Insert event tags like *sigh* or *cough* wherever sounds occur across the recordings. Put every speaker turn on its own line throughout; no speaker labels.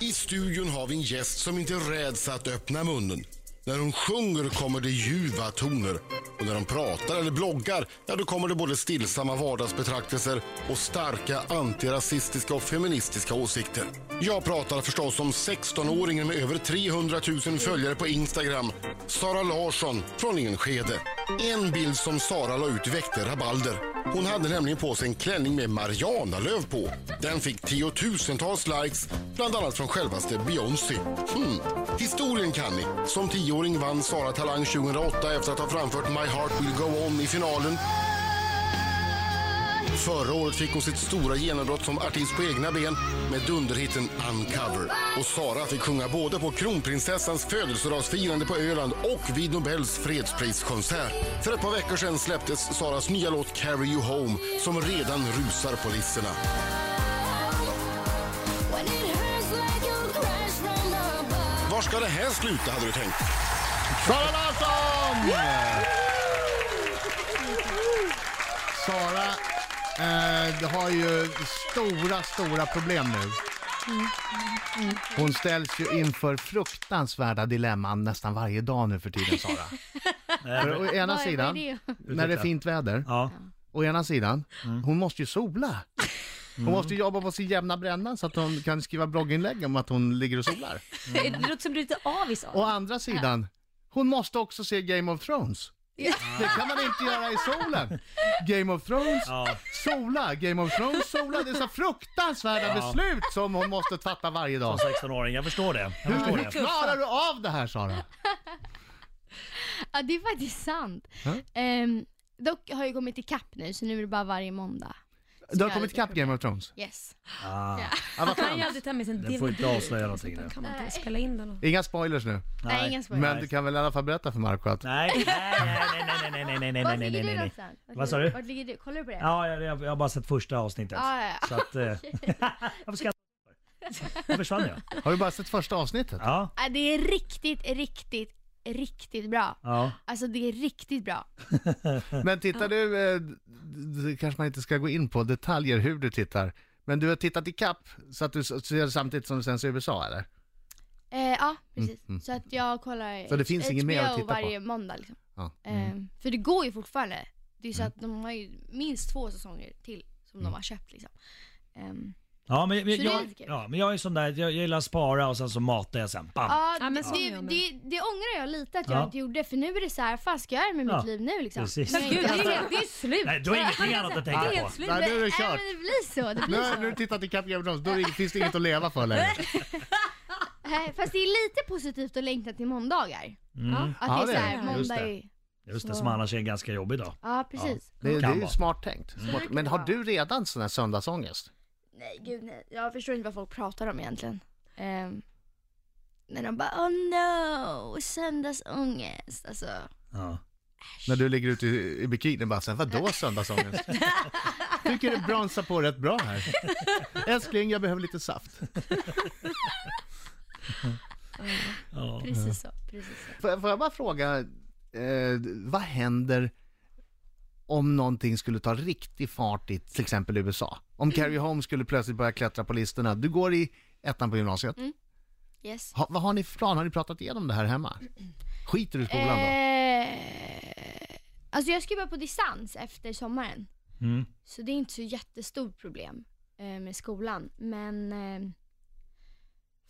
I studion har vi en gäst som inte räds att öppna munnen. När hon sjunger kommer det ljuva toner och när hon pratar eller bloggar, ja då kommer det både stillsamma vardagsbetraktelser och starka antirasistiska och feministiska åsikter. Jag pratar förstås om 16-åringen med över 300 000 följare på Instagram, Sara Larsson från Enskede. En bild som Sara la ut väckte rabalder. Hon hade nämligen på sig en klänning med Marianalöv på. Den fick tiotusentals likes, bland annat från självaste Beyoncé. Hmm. Historien kan ni. Som tioåring vann Sara Talang 2008 efter att ha framfört My Heart Will Go On i finalen. Förra året fick hon sitt stora genombrott som artist på egna ben med dunderhitten Uncover. Och Sara fick sjunga både på kronprinsessans födelsedagsfirande på Öland och vid Nobels fredspriskonsert. För ett par veckor sedan släpptes Saras nya låt Carry You Home som redan rusar på listorna. Var ska det här sluta hade du tänkt?
Sara Larsson! Sara eh, har ju stora, stora problem nu. Hon ställs ju inför fruktansvärda dilemman nästan varje dag nu för tiden, Sara. För å ena
Vad är- vad
sidan,
är det?
när det är fint väder,
Ja.
å ena sidan, hon måste ju sola. Hon måste ju jobba på sin jämna bränna så att hon kan skriva blogginlägg om att hon ligger och solar.
*laughs* Det låter som du är lite avis av.
Å andra sidan, hon måste också se Game of Thrones. Det kan man inte göra i solen. Game of Thrones,
Ja.
sola, Game of Thrones, sola. Det är så fruktansvärda
Ja.
beslut som hon måste fatta varje dag.
Som 16-åring, jag förstår det. Jag
Hur,
förstår
hur
det.
klarar du av det här Sara?
Ja, det är faktiskt sant. Ehm, dock har jag kommit ikapp nu, så nu är det bara varje måndag.
Du har kommit ikapp Game of Thrones.
Yes.
Ah,
Ja, vad
Han kan ju
skönt.
aldrig ta med sig en
Den
DVD.
får inte avslöja någonting nu.
Kan man inte spela in den? och-
Inga spoilers nu,
Nej, ingen spoiler.
men du kan väl i alla fall berätta för Marco att
Nej, nej, nej, nej, nej, nej, nej, nej, nej,
Vart
nej,
ligger
nej,
du
nej, nej.
någonstans? Vart
Vad sa
ligger-
du?
Vart ligger du? Kollar du på det?
Ja, jag, jag, jag har bara sett första avsnittet.
Ja, ja, ja.
Så
*laughs*
att... Eh, *laughs* varför ska jag... försvann jag.
har du bara sett första avsnittet?
Ja,
Ja, Det är riktigt, riktigt, riktigt bra.
ja.
Alltså det är riktigt bra.
Men tittar du, eh, d- d- kanske man inte ska gå in på detaljer hur du tittar, men du har tittat ikapp så att du s- ser samtidigt som du sen ser USA eller?
Eh, ja, precis. Så att jag kollar
Så det finns
HBO
inget mer att titta på?
varje måndag liksom.
Ja.
Ehm, för det går ju fortfarande. Det är ju så att de har ju minst två säsonger till som de har köpt liksom. Ehm,
Ja, men, jag,
Så det är
jag,
lite kul.
ja, men jag är sån där, jag, jag gillar att spara och sen så matar jag sen. Bam!
Ja,
Ja, men så
det,
gör man.
det, det ångrar jag lite att jag
Ja.
inte gjorde för nu är det så här, fan ska jag göra med mitt
Ja,
liv nu liksom?
precis.
Men
Men gud, det är ju helt- det är ju slut.
Nej, du har ingenting annat att tänka på.
slut.
Nej, nu är det
Nej,
kört.
men det blir så, det
Nu
blir
har
så.
du tittat i Cap Game of Thrones, då är det- finns det inget att leva för längre.
Nej, Fast det är lite positivt att längta till måndagar.
Mm.
Ja.
Att
Ja,
det
det
är
är
så här,
det.
Just
måndag
det.
är...
Just det, som annars är en ganska jobbig dag.
Ja, precis.
Det, det är
Kan
ju
vara.
smart tänkt. Smart. Men har du redan sån här söndagsångest?
Nej, gud nej. Jag förstår inte vad folk pratar om egentligen. Um, när de bara oh no, söndagsångest. Alltså,
Ja.
När du ligger ute i, i bikini bara sen, vadå söndagsångest? Tycker du bronsar på rätt bra här. Älskling, jag behöver lite saft.
Ja.
precis så. Precis så.
Får, jag- får jag bara fråga, eh, vad händer om någonting skulle ta riktig fart i till exempel USA? Om Carrie Home skulle plötsligt börja klättra på listorna. Du går i ettan på gymnasiet.
Yes.
Ha, vad har ni för plan? Har ni pratat igenom det här hemma? Skiter du i skolan då?
Eh, alltså jag ska ju bara på distans efter sommaren.
Mm.
Så det är inte så jättestort problem eh, med skolan. Men... Eh,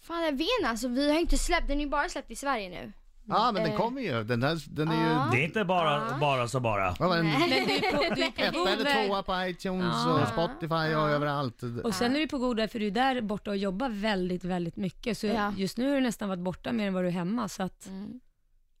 fan, jag vet inte. Alltså, vi har inte släppt. Den är ju bara släppt i Sverige nu.
Ja, men den
Eh.
kommer ju. Den, där, den är ju...
Det är inte bara, bara så bara. Mm.
Vad var den?
Men du är på, du är på
Etta
god
eller
väg.
tvåa på iTunes och
Ja.
Spotify och överallt.
Och sen är du på god väg för du är där borta och jobbar väldigt, väldigt mycket. Så
Ja.
just nu har du nästan varit borta mer än vad du är hemma. Så att,
Mm.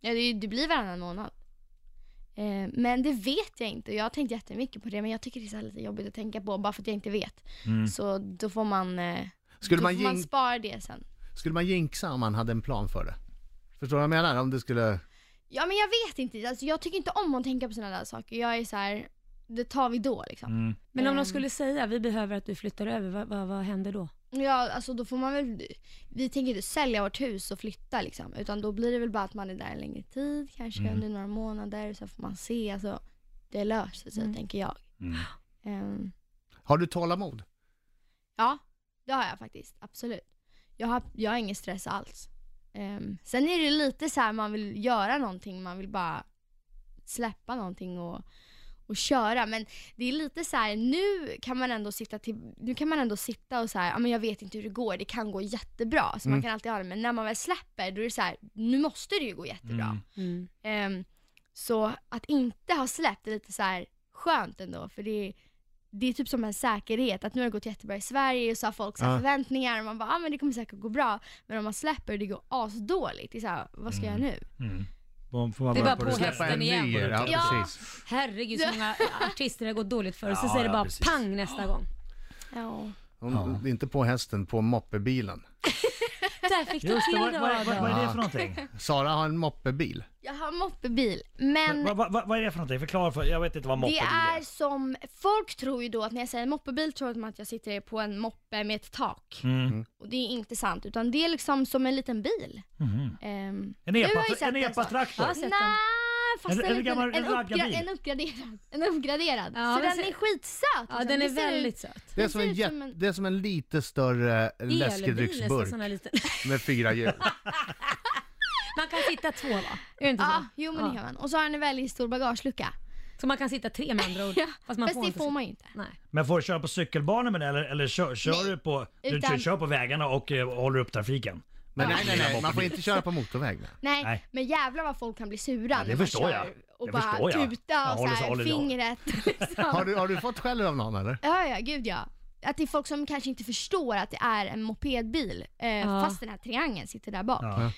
Ja, det, det blir varannan månad. Eh, men det vet jag inte. Jag har tänkt jättemycket på det, men jag tycker det är så här lite jobbigt att tänka på bara för att jag inte vet. Så då får man, eh,
Mm. Skulle
då
man
får man
jink-
spara det sen.
Skulle man jinxa om man hade en plan för det? Förstår du vad jag menar? Om det skulle...
Ja, men jag vet inte. Alltså, jag tycker inte om att tänka på sådana där saker. Jag är så här, det tar vi då liksom.
men om
Ehm.
de skulle säga, vi behöver att du flyttar över, vad, vad, vad händer då?
Ja, alltså då får man väl, vi tänker inte sälja vårt hus och flytta liksom, utan då blir det väl bara att man är där en längre tid, kanske under några månader, så får man se, alltså det löser sig tänker jag. Ehm,
Har du tålamod?
Ja, det har jag faktiskt. Absolut. jag har, jag har ingen stress alls. Ehm, sen är det lite så här man vill göra någonting, man vill bara släppa någonting och, och köra. Men det är lite så här, nu kan man ändå sitta, till, nu kan man ändå sitta och så här, ja men jag vet inte hur det går, det kan gå jättebra. Så man kan alltid ha det, men när man väl släpper då är det så här, nu måste det ju gå jättebra.
Mm.
Mm.
Ehm, så att inte ha släppt är lite så här skönt ändå för det är, det är typ som en säkerhet att nu har det gått jättebra i Sverige och så har folk så här
Ja.
förväntningar och man bara ah, men det kommer säkert gå bra men om man släpper och det går asdåligt, det är så här, vad ska jag göra nu?
Mm. Får- Får man
Det är
bara
bara
på det
på
släppa
Släppa en
hästen
en?
igen.
ny er, ja,
Ja.
precis.
Herregud så många artister det har gått dåligt för och så
Ja,
säger det
ja,
bara
precis.
pang nästa gång.
Ja.
Hon, Inte på hästen, på moppebilen.
Där fick du
Just det,
till
vad, vad, vad, vad
Adam.
är det för någonting?
Sara har en moppebil.
Jag har moppebil men
Vad, vad, vad, vad är det för någonting? Förklara för jag vet inte vad
det
moppebil
är
är.
som, folk tror ju då att när jag säger moppebil tror de att jag sitter på en moppe med ett tak
Mm.
och det är inte sant utan det är liksom som en liten bil.
Mhm.
Ehm,
En
nu har jag ju
epa-
sett
en
den så.
epatraktor?
Ja, jag sett den.
Nej, Ah, fast
En-
en,
en
en, liten,
gammal-
en,
en
uppgra-
raggarbil.
en uppgraderad. En uppgraderad.
Ja,
så
men
den
se-
är skitsöt.
Ja
liksom.
den är
Det ser
väldigt
ut-
söt.
Det är som en,
ser ut
jätt,
som en-
det är som en lite större
Elbil nästan,
läskedrycksburk
sån här liten.
med fyra hjul.
*laughs* Man kan sitta två va? Är det inte
Ja,
så?
Ah,
Ah.
jo men det
Ja.
kan man. Och så har den en väldigt stor bagagelucka.
Så man kan sitta tre med andra ord.
Ja,
Fast man
Fast
får
det
inte
får
sitta.
man ju inte.
Nej.
Men får du köra på cykelbanor med den eller, eller kör, kör
Nej,
du på, du
utan-
kör, kör på vägarna och eh, håller upp trafiken?
Men
Ja.
nej, nej, nej, man får inte köra på motorväg. nej.
Nej,
Nej.
men jävlar vad folk kan bli sura
det
när man
förstår jag.
kör Och
Det
bara
förstår jag.
tuta
Jag
och
håller-
så här,
håller-
fingret.
*laughs*
Liksom.
Har du, har du fått skäll av någon eller?
Ja, ja, gud ja. Att det är folk som kanske inte förstår att det är en mopedbil eh,
Ja.
fast den här triangeln sitter där bak.
Ja.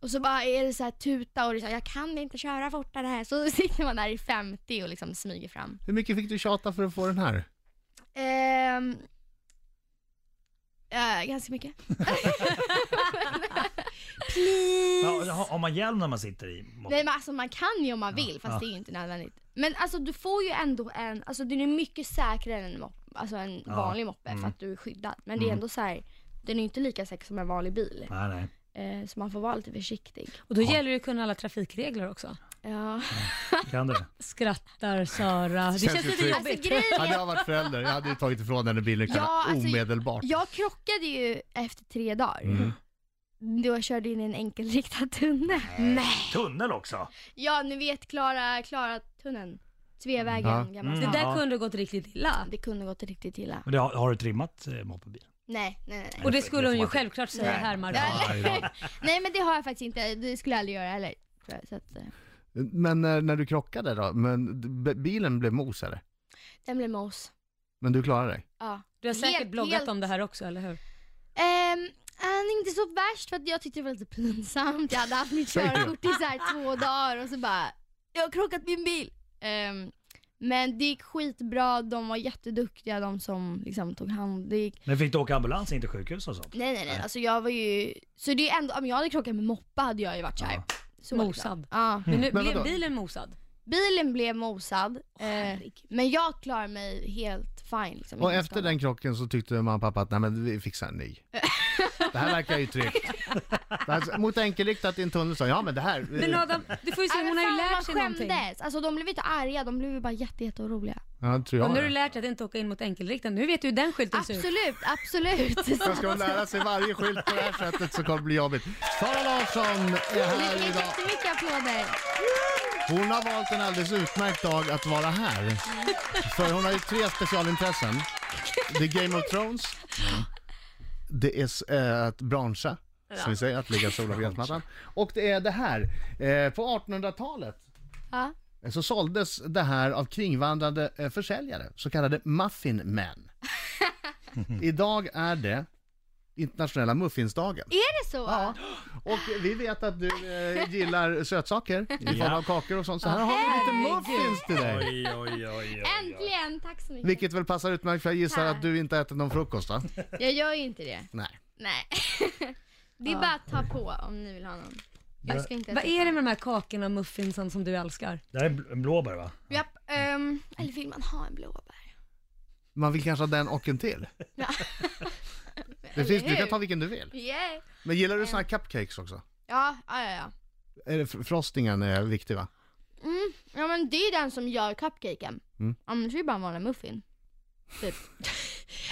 Och så bara är det så här tuta och det är så här, jag kan inte köra fortare här. Så *laughs* sitter man där i 50 och liksom smyger fram.
Hur mycket fick du tjata för att få den här?
Ehm, eh, ganska mycket.
Ja, har, har man hjälm när man sitter i moppebil?
Nej men alltså man kan ju om man vill fast
ja.
det är ju inte nödvändigt. Men alltså du får ju ändå en, alltså den är mycket säkrare än en, mop- alltså, en
Ja,
vanlig moppe
mm.
för att du är skyddad. Men det är ändå så här, den är ju inte lika säker som en vanlig bil.
Nej, nej.
Eh, så man får vara lite försiktig.
Och då gäller det att kunna alla trafikregler också.
Ja.
Kan du?
Skrattar Sara. Det
Känns
känns
ju
lite
tryggt.
jobbigt.
Alltså grejen
Hade jag varit förälder, jag hade ju tagit ifrån henne bilyckan
Ja, alltså,
omedelbart.
Jag krockade ju efter tre dagar. Då jag körde in i en enkelriktad tunnel. Nej.
Tunnel också?
Ja, ni vet Klara, Klara tunneln. Sveavägen,
Ja.
gammal
Mm.
Det där
Ja.
kunde gått riktigt illa.
stad. Det kunde gått riktigt illa.
Men det, har, har du trimmat eh, moppebilen?
Nej, nej, nej, nej.
Och det skulle hon ju
Nej.
självklart säga
Nej.
här Margot.
Ja. *laughs* nej men det har jag faktiskt inte. Det skulle jag aldrig göra heller. tror jag. Så att, eh,
Men eh, när du krockade då? Men b- bilen blev mosare?
den blev mos.
Men du klarade dig?
Ja.
Du har säkert
Helt-
bloggat
helt-
om det här också, eller
Mm.
hur?
Ehm, eh, inte så värst för att jag tyckte det var lite pinsamt. Jag hade haft mitt körkort i så här två dagar och så bara, jag har krockat min bil. Ehm, men det gick skitbra, de var jätteduktiga de som liksom tog hand det gick...
Men fick du åka ambulans in till sjukhus och sånt?
Nej nej nej, alltså jag var ju, så det är ändå, om jag hade krockat med moppa hade jag ju varit såhär. Så
Mosad.
Ja.
Men nu
Men
blev
vadå?
bilen mosad.
Bilen blev mosad, eh,
herregud.
men jag klarade mig helt fine. Liksom,
Och
Ingen
efter
skada.
den krocken så tyckte mamma och pappa att nej men vi fixar en ny. Det här verkar ju tryggt. Det här- Mot enkelriktat i en tunnel sa jag, ja men det här. eh,
Men Adam, du får ju se,
Nej, men
hon har ju
Äh, fan,
lärt
man
sig någonting.
skämdes. Alltså de blev inte arga, de blev ju bara jätte, jätte oroliga.
Ja, tror
Och
jag.
nu har du
det.
lärt dig att inte åka in mot enkelrikten. Nu vet du hur den skylten ser ut.
Absolut, *laughs* absolut.
Men Ska hon lära sig varje skylt på det här sättet så kommer det bli jobbigt. Sara Larsson är
Ni
här
fick
idag.
jättemycket applåder.
Hon har valt en alldeles utmärkt dag att vara här. För hon har ju tre specialintressen. Det är Game of Thrones. Det är s- eh, att branscha, som vi säger, att ligga i solen på gräsmattan. Och det är det här. Eh, på 1800-talet
Ja.
eh, så såldes det här av kringvandrande eh, försäljare, så kallade muffin men. Idag är det internationella muffinsdagen.
Är det så? Ja.
Och vi vet att du eh, gillar sötsaker i form av kakor och sånt. Så här har vi lite muffins till dig.
Oj, oj, oj, oj.
Äntligen, tack så mycket.
Vilket väl passar utmärkt för jag gissar att du inte ätit någon frukost va?
Jag gör ju inte det.
Nej.
Nej. *laughs* Det är bara att ta på om ni vill ha någon. Jag ska inte
Vad är det med de här kakorna och muffinsen som du älskar?
Det här är bl- en blåbär va?
Japp, ehm, eller vill man ha en blåbär?
Man vill kanske ha den och en till.
Ja.
Det
Eller
finns, du
hur?
kan ta vilken du vill.
Yeah.
Men gillar du såna här cupcakes också?
Ja, ja, ja, ja.
Är det fr- frostingen är viktig va?
Mm. Ja men det är den som gör cupcaken.
Mm.
Annars är det bara en vanlig muffin.
Typ.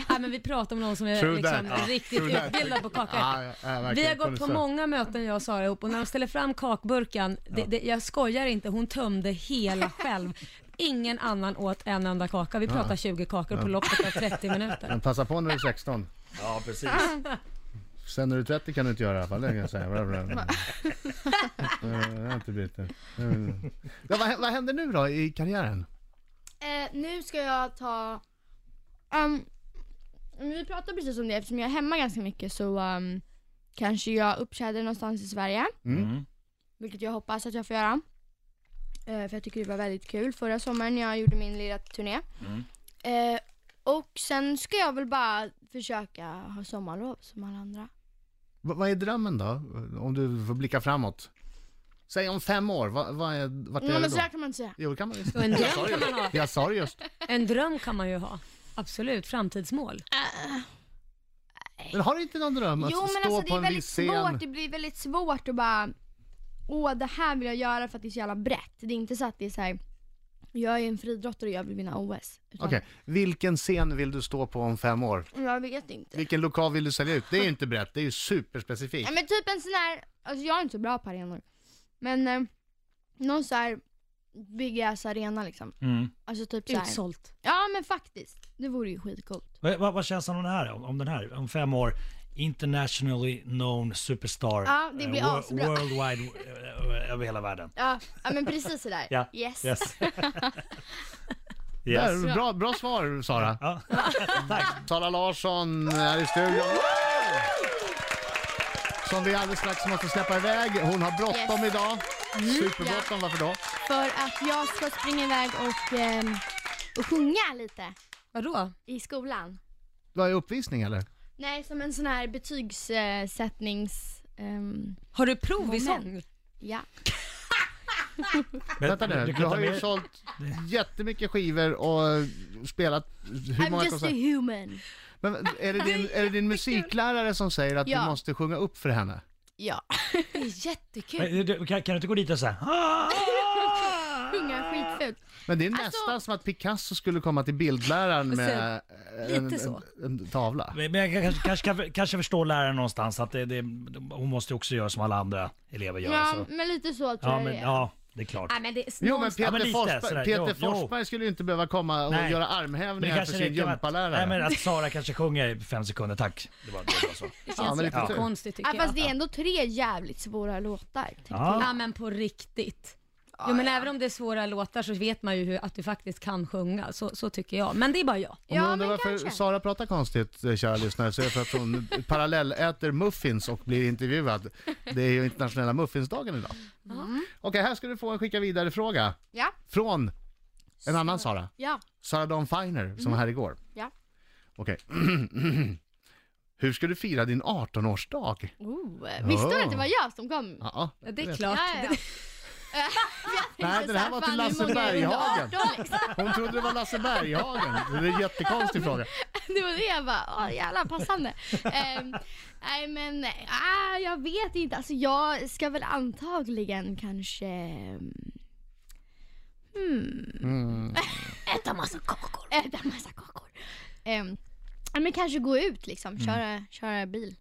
Nej, men vi pratar om någon som är
True
liksom,
that. Ja,
riktigt
true that.
utbildad på kaka.
Ja, ja, ja, verkligen.
Vi har
Kunde
gått på
se.
många möten jag och Sara ihop och när de ställer fram kakburkan, det, det, jag skojar inte, hon tömde hela själv. Ingen annan åt en enda kaka. Vi pratar 20 kakor på loppet av 30 minuter.
Men passa på när du är 16.
Ja, precis.
Sen när du är 30 kan du inte göra i alla fall, det kan jag säga. Bra, bra, bra. Eh, Jag har inte blivit det. Mm. Ja, vad, vad händer nu då i karriären?
Eh, nu ska jag ta... ehm, vi pratade precis om det, eftersom jag är hemma ganska mycket så ehm, kanske jag uppträder någonstans i Sverige.
Mm.
Vilket jag hoppas att jag får göra. Eh, för jag tycker det var väldigt kul förra sommaren när jag gjorde min lilla turné.
Mm.
Eh, och sen ska jag väl bara försöka ha sommarlov som alla andra.
Va- vad är drömmen då? Om du får blicka framåt. Säg om fem år, va, vad är, vart
Nej
är du
men
då?
så här kan man inte säga.
Jo, det kan man just.
Och en dröm kan man ha.
Jag sa det just.
En dröm kan man ju ha. Absolut, framtidsmål.
Men har du inte någon dröm att
Jo men
stå
alltså det
på
är
en
väldigt
viss
svårt,
scen?
det blir väldigt svårt att bara Åh det här vill jag göra för att det är så jävla brett. Det är inte så att det är så här. Jag är en friidrottare och jag vill vinna OS. Utan,
Okej, vilken scen vill du stå på om fem år?
Jag vet inte.
Vilken lokal vill du sälja ut? Det är ju inte brett, det är ju
Ja,
superspecifikt.
men typ en sån här, alltså jag är inte så bra på arenor. Men eh, någon så här big ass arena liksom.
Mm.
Alltså typ så här.
Utsålt.
Ja men faktiskt. Det vore ju skitcoolt.
Vad, vad, vad känns det om den här? Om, om den här? Om fem år? Internationally known superstar.
Ja, det blir
eh, wor-
asbra.
Worldwide eh, över hela världen.
Ja, ja men precis sådär.
Ja.
Yes. *laughs*
Yes.
Där,
yes.
Bra, bra svar Sara.
Ja. Tack.
Sara Larsson är i studion. Som vi alldeles strax måste släppa iväg. Hon har
Yes.
bråttom
Mm,
idag. Superbråttom, varför då?
För att jag ska springa iväg och, ehm, och sjunga lite
Vadå?
i skolan.
Du har ju uppvisning eller?
Nej, som en sån här betygssättnings... ehm,
Har du prov i
Moment.
sång?
ja.
Men-
Vänta nu,
du
du,
kan ta
har ju
med-
sålt jättemycket skivor och spelat hur
I'm
många
just a
konserter?
human.
Men är det, din, är
*laughs*
det din musiklärare som säger att
Ja.
du måste sjunga upp för henne?
*laughs* Ja.
Det är jättekul.
Men, du, kan, kan du inte gå dit och säga "Ah!"
Sjunga skitfult.
Men det är
Alltså-
nästan som att Picasso skulle komma till bildläraren med
Och säga,
Alltså,
en,
lite
en,
så.
en tavla.
Men men jag kanske, kanske, kan- kanske förstår läraren någonstans att det, det, hon måste också göra som alla andra elever gör.
Ja,
så.
alltså.
men lite så tror
ja,
jag
men,
det är.
ja det är klart.
Nej, men det är
Jo men Peter,
Ja, men lite
Forsberg,
sådär,
Peter
jo, jo.
Forsberg skulle ju inte behöva komma och
Nej.
göra
Men det
armhävningar för
kanske
sin
räcker med att,
gympalärare.
nej, men att Sara kanske sjunger i fem sekunder, tack. Det var,
*laughs*
det var så.
Det
Ja,
känns
men det är
kultur.
jättekonstigt tycker
Ja,
jag.
fast det är ändå tre jävligt svåra låtar. tänker
Ja.
Ja men på riktigt. Jo men även om det är svåra låtar så vet man ju hur, att du faktiskt kan sjunga, så, så tycker jag. Men det är bara jag.
Om ni
Ja,
undrar
men
varför
kanske.
Sara pratar konstigt, eh, kära lyssnare, så är det för att hon
*laughs*
parallelläter muffins och blir intervjuad. Det är ju internationella muffinsdagen idag. Okej, här ska du få en skicka vidare-fråga
jag. Ja.
från en annan Sara.
Ja.
Sara Dawn Finer, som
Mm.
var här igår.
Ja.
Okej. *clears throat* Hur ska du fira din 18-årsdag?
Oh. Visste du att det var jag som kom?
Ja, ja.
Ja, Det är klart.
Ja, ja.
Nej, det här var till
Fan, hur
Lasse
många är under
Berghagen.
18, liksom?
Hon trodde det var Lasse Berghagen. Det är en jättekonstig fråga.
Det var det jag bara, åh jävlar *laughs* passande. Ehm, Nej men, ah, jag vet inte. Alltså jag ska väl antagligen kanske... mm, Hmm.
Mm.
Äta massa kakor. Äta massa kakor. Ehm, ja, men kanske gå ut liksom, köra, köra bil.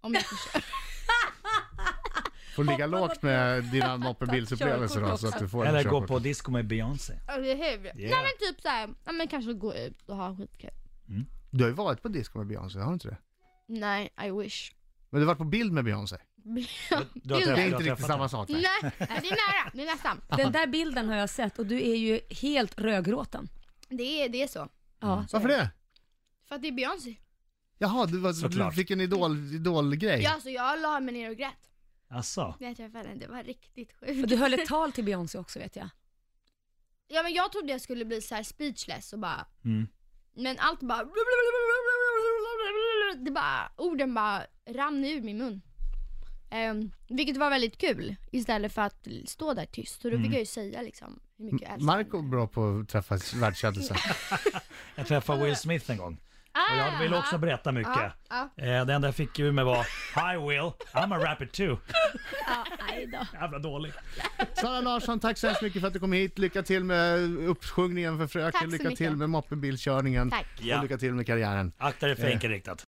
Om jag får köra. *laughs*
Får ligga lågt med
*laughs*
dina moppebilsupplevelser då, så att du får en
Eller gå
körkort.
på disco med Beyoncé.
Eller hur?
Yeah.
Nej men typ såhär, ja, men kanske gå ut och ha skitkul.
Du har ju varit på disco med Beyoncé, har du inte det?
Nej, I wish.
Men du har varit på bild med Beyoncé?
Du har
Bild.
Det
träffat-
är
du har
inte riktigt
träffat
samma
henne.
sak. Nej.
Nej, det är nära. Det är nästan.
Den där bilden har jag sett och du är ju helt rödgråten.
Det är, det är så.
Ja.
Varför det?
För att det är Beyoncé.
Jaha, du, var, du
Såklart.
fick en idol, idolgrej.
Ja, så jag la mig ner och grät
Asså?
när jag träffade henne. Det var riktigt
Och
sjukt.
du
*laughs*
höll ett tal till Beyoncé också vet jag.
Ja, men jag trodde jag skulle bli så här speechless och bara...
Mm.
Men allt bara... Det bara... Orden bara rann ur min mun. Ehm, vilket var väldigt kul istället för att stå där tyst. Så då
Mm.
fick jag ju säga liksom hur mycket jag älskar
Marco är
henne.
bra på att träffa världskändisar.
Jag träffade Will Smith en gång. Och jag vill också berätta mycket.
Alltså, ah, Ja,
Eh, Det enda jag fick ur mig var Hi Will, I'm a rapper too.
ja, aj då.
*laughs* Jävla dålig.
Sara Larsson, tack så hemskt mycket för att du kom hit. Lycka till med uppsjungningen för fröken,
Tack så
lycka
mycket.
till med moppebilkörningen
Tack.
och
Ja.
lycka till med karriären.
Akta dig för
Eh.
enkelriktat.